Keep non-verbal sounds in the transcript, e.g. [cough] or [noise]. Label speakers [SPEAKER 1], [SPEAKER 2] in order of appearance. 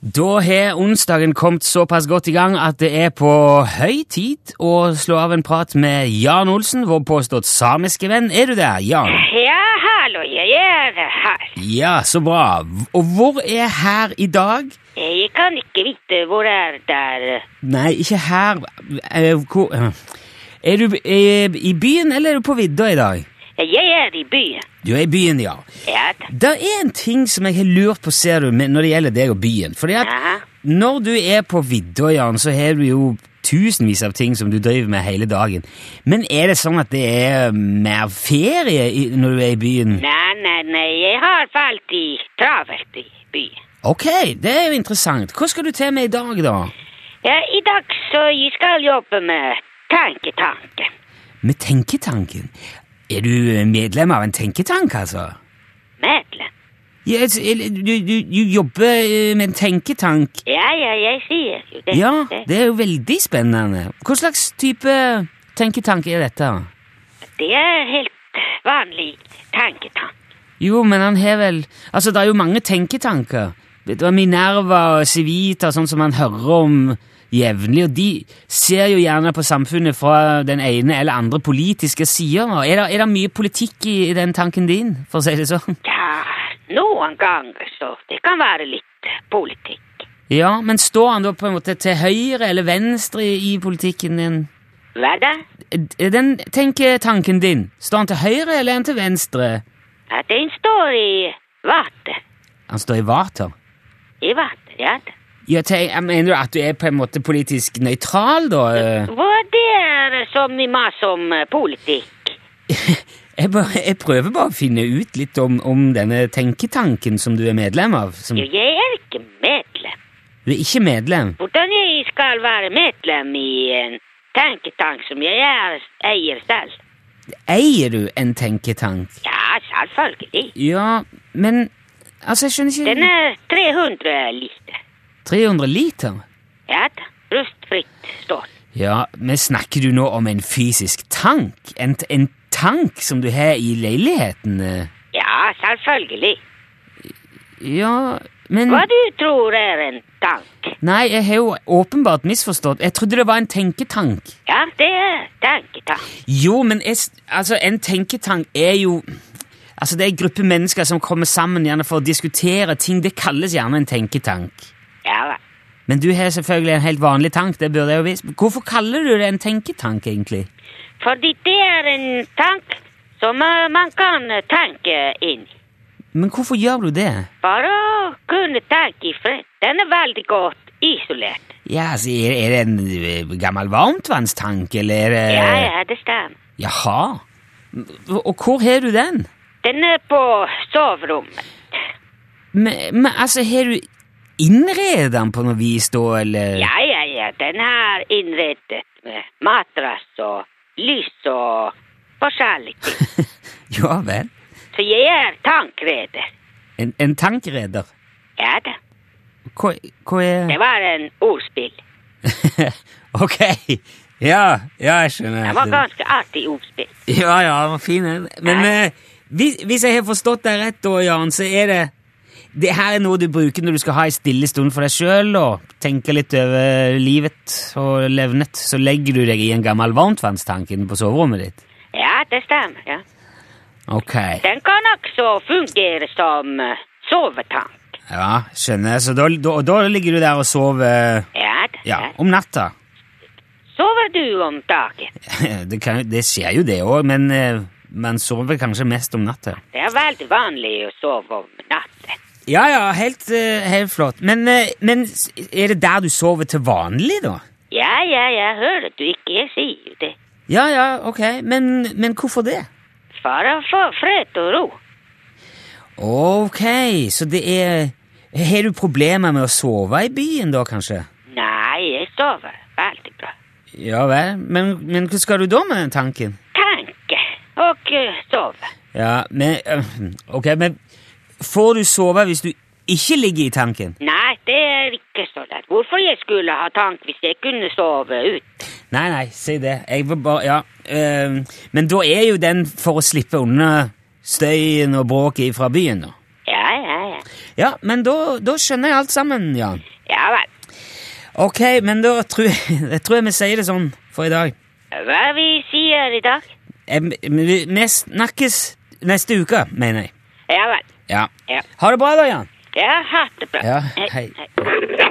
[SPEAKER 1] Da har onsdagen kommet såpass godt i gang at det er på høy tid å slå av en prat med Jan Olsen, vår påstått samiske venn. Er du der, Jan?
[SPEAKER 2] Ja, hallo, jeg er her.
[SPEAKER 1] Ja, så bra. Og hvor er her i dag?
[SPEAKER 2] Jeg kan ikke vite hvor det er der.
[SPEAKER 1] Nei, ikke her. Eh, Hvor eh. Er du eh, i byen, eller er du på vidda i dag?
[SPEAKER 2] Jeg er i byen.
[SPEAKER 1] Du er i byen, ja.
[SPEAKER 2] Ja, da.
[SPEAKER 1] Det er en ting som jeg har lurt på, ser du, med- når det gjelder deg og byen. Fordi at
[SPEAKER 2] Aha.
[SPEAKER 1] når du er på vidda, Jan, så har du jo tusenvis av ting som du driver med hele dagen. Men er det sånn at det er mer ferie i- når du er i byen?
[SPEAKER 2] Nei, nei, nei, jeg har falt i travelt i byen.
[SPEAKER 1] Ok, det er jo interessant. Hva skal du til med i dag, da?
[SPEAKER 2] Ja, i dag så jeg skal jobbe med tanketanken.
[SPEAKER 1] Med tenketanken? Er du medlem av en tenketank, altså?
[SPEAKER 2] Medlem.
[SPEAKER 1] Yes, eller du, du, du jobber eh, med en tenketank.
[SPEAKER 2] Ja, ja, jeg sier jo det.
[SPEAKER 1] Ja, det er jo veldig spennende. Hva slags type tenketank er dette?
[SPEAKER 2] Det er helt vanlig tanketank.
[SPEAKER 1] Jo, men han har vel Altså, det er jo mange tenketanker. Vet du hva, Minerva og Civita, sånn som man hører om jevnlig, og de ser jo gjerne på samfunnet fra den ene eller andre politiske sida. Er, det- er det mye politikk i, i den tanken din, for å si det sånn?
[SPEAKER 2] Ja, noen ganger så det kan være litt politikk.
[SPEAKER 1] Ja, men står han da på en måte til høyre eller venstre i, i politikken din?
[SPEAKER 2] Hva da?
[SPEAKER 1] Er Den tenketanken din, står han til høyre eller er han til venstre?
[SPEAKER 2] At den står i vater.
[SPEAKER 1] Han står i vater.
[SPEAKER 2] I vater, ja da.
[SPEAKER 1] Jeg tenk, jeg mener du at du er på en måte politisk nøytral, da? Eh,
[SPEAKER 2] Hva det er som i masse om eh, politikk?
[SPEAKER 1] Jeg, bare, jeg prøver bare å finne ut litt om, om denne tenketanken som du er medlem av. Som,
[SPEAKER 2] Jo, jeg er ikke medlem.
[SPEAKER 1] du er ikke medlem.
[SPEAKER 2] Hvordan jeg skal være medlem i en tenketank som jeg er, eier selv?
[SPEAKER 1] Eier du en tenketank?
[SPEAKER 2] Ja, selvfølgelig.
[SPEAKER 1] Ja, men Altså, jeg skjønner
[SPEAKER 2] Den
[SPEAKER 1] ikke
[SPEAKER 2] er 300 liter.
[SPEAKER 1] 300 liter?
[SPEAKER 2] Ja da, rustfritt står.
[SPEAKER 1] Ja, men snakker du nå om en fysisk tank? En, t- en tank som du har i leiligheten? eh?
[SPEAKER 2] Ja, selvfølgelig.
[SPEAKER 1] Ja, men
[SPEAKER 2] Hva du tror er en tank?
[SPEAKER 1] Nei, jeg har jo åpenbart misforstått. Jeg trodde det var en tenketank.
[SPEAKER 2] Ja, det er tenketank.
[SPEAKER 1] Jo, men jeg, s- altså, en tenketank er jo Altså, Det er en gruppe mennesker som kommer sammen gjerne for å diskutere ting. Det kalles gjerne en tenketank.
[SPEAKER 2] Ja vel.
[SPEAKER 1] Men du har selvfølgelig en helt vanlig tank. det burde jeg jo visst. Hvorfor kaller du det en tenketank, egentlig?
[SPEAKER 2] Fordi det er en tank som eh, man kan eh, tenke inn i.
[SPEAKER 1] Men hvorfor gjør du det?
[SPEAKER 2] Bare å kunne tenke i fred. Den er veldig godt isolert.
[SPEAKER 1] Ja, altså, Er er det en ø, gammel varmtvannstank, eller er det
[SPEAKER 2] Ja, ja, det stemmer.
[SPEAKER 1] Jaha. Og- Og hvor har du den?
[SPEAKER 2] Den er på
[SPEAKER 1] Eh.
[SPEAKER 2] soverommet.
[SPEAKER 1] Men, men altså, har du innredet den på noe vis, da, eller
[SPEAKER 2] Ja, ja, ja, den er innredet med matrass og lys og forskjellig.
[SPEAKER 1] [laughs] Ja vel.
[SPEAKER 2] Så jeg er tankreder.
[SPEAKER 1] En, en tankreder.
[SPEAKER 2] Ja da.
[SPEAKER 1] Hva, hva er
[SPEAKER 2] Det var en ordspill.
[SPEAKER 1] eh. [laughs] ok. Ja, ja, jeg skjønner.
[SPEAKER 2] Det var ganske artig ordspill.
[SPEAKER 1] Ja, ja, den var fin. den. Men
[SPEAKER 2] Ja.
[SPEAKER 1] eh, hvis, hvis jeg har forstått deg rett, da, Jan, så er det det her er noe du bruker når du skal ha en stille stund for deg sjøl og tenke litt over livet og levnet. Så legger du deg i en gammel varmtvannstank inne på soverommet ditt.
[SPEAKER 2] Ja, det stemmer. ja.
[SPEAKER 1] Ok,
[SPEAKER 2] Den kan også fungere som eh, sovetank.
[SPEAKER 1] ja, skjønner. Så da, da, og da ligger du der og sover
[SPEAKER 2] Ja da.
[SPEAKER 1] ja,
[SPEAKER 2] ja.
[SPEAKER 1] om natta. [laughs]
[SPEAKER 2] Sover du om dagen?
[SPEAKER 1] Det, kan, det skjer jo det òg, men eh, man sover kanskje mest om natta.
[SPEAKER 2] Det er veldig vanlig å sove om natten.
[SPEAKER 1] Ja, ja, helt, eh, helt flott. Men, eh, men s- er det der du sover til vanlig, da?
[SPEAKER 2] Ja, ja, jeg hører du ikke, jeg sier jo det.
[SPEAKER 1] Ja, ja, ok. Men, men hvorfor det?
[SPEAKER 2] For å få fred og ro.
[SPEAKER 1] Ok, så det er Har du problemer med å sove i byen, da, kanskje?
[SPEAKER 2] Nei, jeg sover veldig bra.
[SPEAKER 1] Ja vel, men, men hva skal du da med den tanken?
[SPEAKER 2] Tenke og eh, sove.
[SPEAKER 1] Ja, men eh, Ok, men får du sove hvis du ikke ligger i tanken?
[SPEAKER 2] Nei, det er ikke så lett. Hvorfor jeg skulle ha tank hvis jeg kunne sove ut?
[SPEAKER 1] Nei, nei, si det. Jeg var bare, ja. ehm, men da er jo den for å slippe unna støyen og bråket fra byen, da.
[SPEAKER 2] Ja, ja, ja.
[SPEAKER 1] Ja, men da, da skjønner jeg alt sammen, Jan.
[SPEAKER 2] Ja vel.
[SPEAKER 1] Ok, men da tror jeg, [laughs] jeg tror jeg vi sier det sånn for i dag.
[SPEAKER 2] Hva vi sier i dag?
[SPEAKER 1] Jeg, vi vi snakkes neste uke, mener jeg.
[SPEAKER 2] Ja vel.
[SPEAKER 1] Ja.
[SPEAKER 2] Ja.
[SPEAKER 1] Ha det bra da, Jan.
[SPEAKER 2] Ja, ha det bra. Eh,
[SPEAKER 1] Ja, hei.
[SPEAKER 2] hei.